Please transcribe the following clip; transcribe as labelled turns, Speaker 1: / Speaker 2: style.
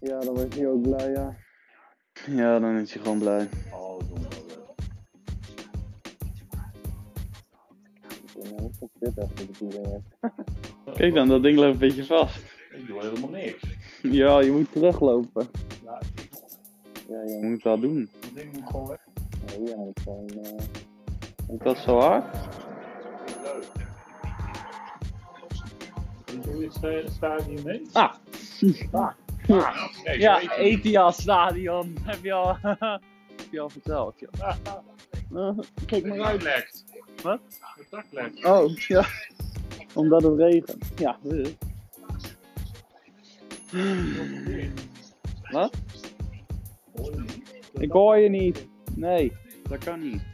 Speaker 1: Ja, dan was hij ook blij, ja.
Speaker 2: Ja, dan is hij gewoon blij.
Speaker 3: Oh, jongen.
Speaker 1: Ik ben heel fit achter de ding heeft.
Speaker 2: Kijk dan, dat ding loopt een beetje vast.
Speaker 3: Ik doe helemaal niks.
Speaker 2: Ja, je moet teruglopen.
Speaker 3: Ja,
Speaker 1: Ja,
Speaker 2: Je
Speaker 1: jongen.
Speaker 2: moet dat doen.
Speaker 3: dat ding moet gewoon weg.
Speaker 1: Nee, ja, het is gewoon... eh,
Speaker 2: Is dat zo hard?
Speaker 3: Leuk. Weet je hoe je het sta- stadion heet?
Speaker 4: Ah.
Speaker 3: Ah. Ah, nee, zo heet
Speaker 4: Ja,
Speaker 3: het.
Speaker 4: ETIAS Stadion. Heb je al, heb je al verteld, joh.
Speaker 2: Eh, kijk
Speaker 3: Mijn
Speaker 2: maar uit.
Speaker 3: tak lekt.
Speaker 4: Wat?
Speaker 3: Mijn tak lekt.
Speaker 2: Oh, ja. Omdat het regent. Ja. eh. Wat?
Speaker 3: Hoor je niet?
Speaker 4: Ik hoor je niet.
Speaker 2: Nee, dat kan niet.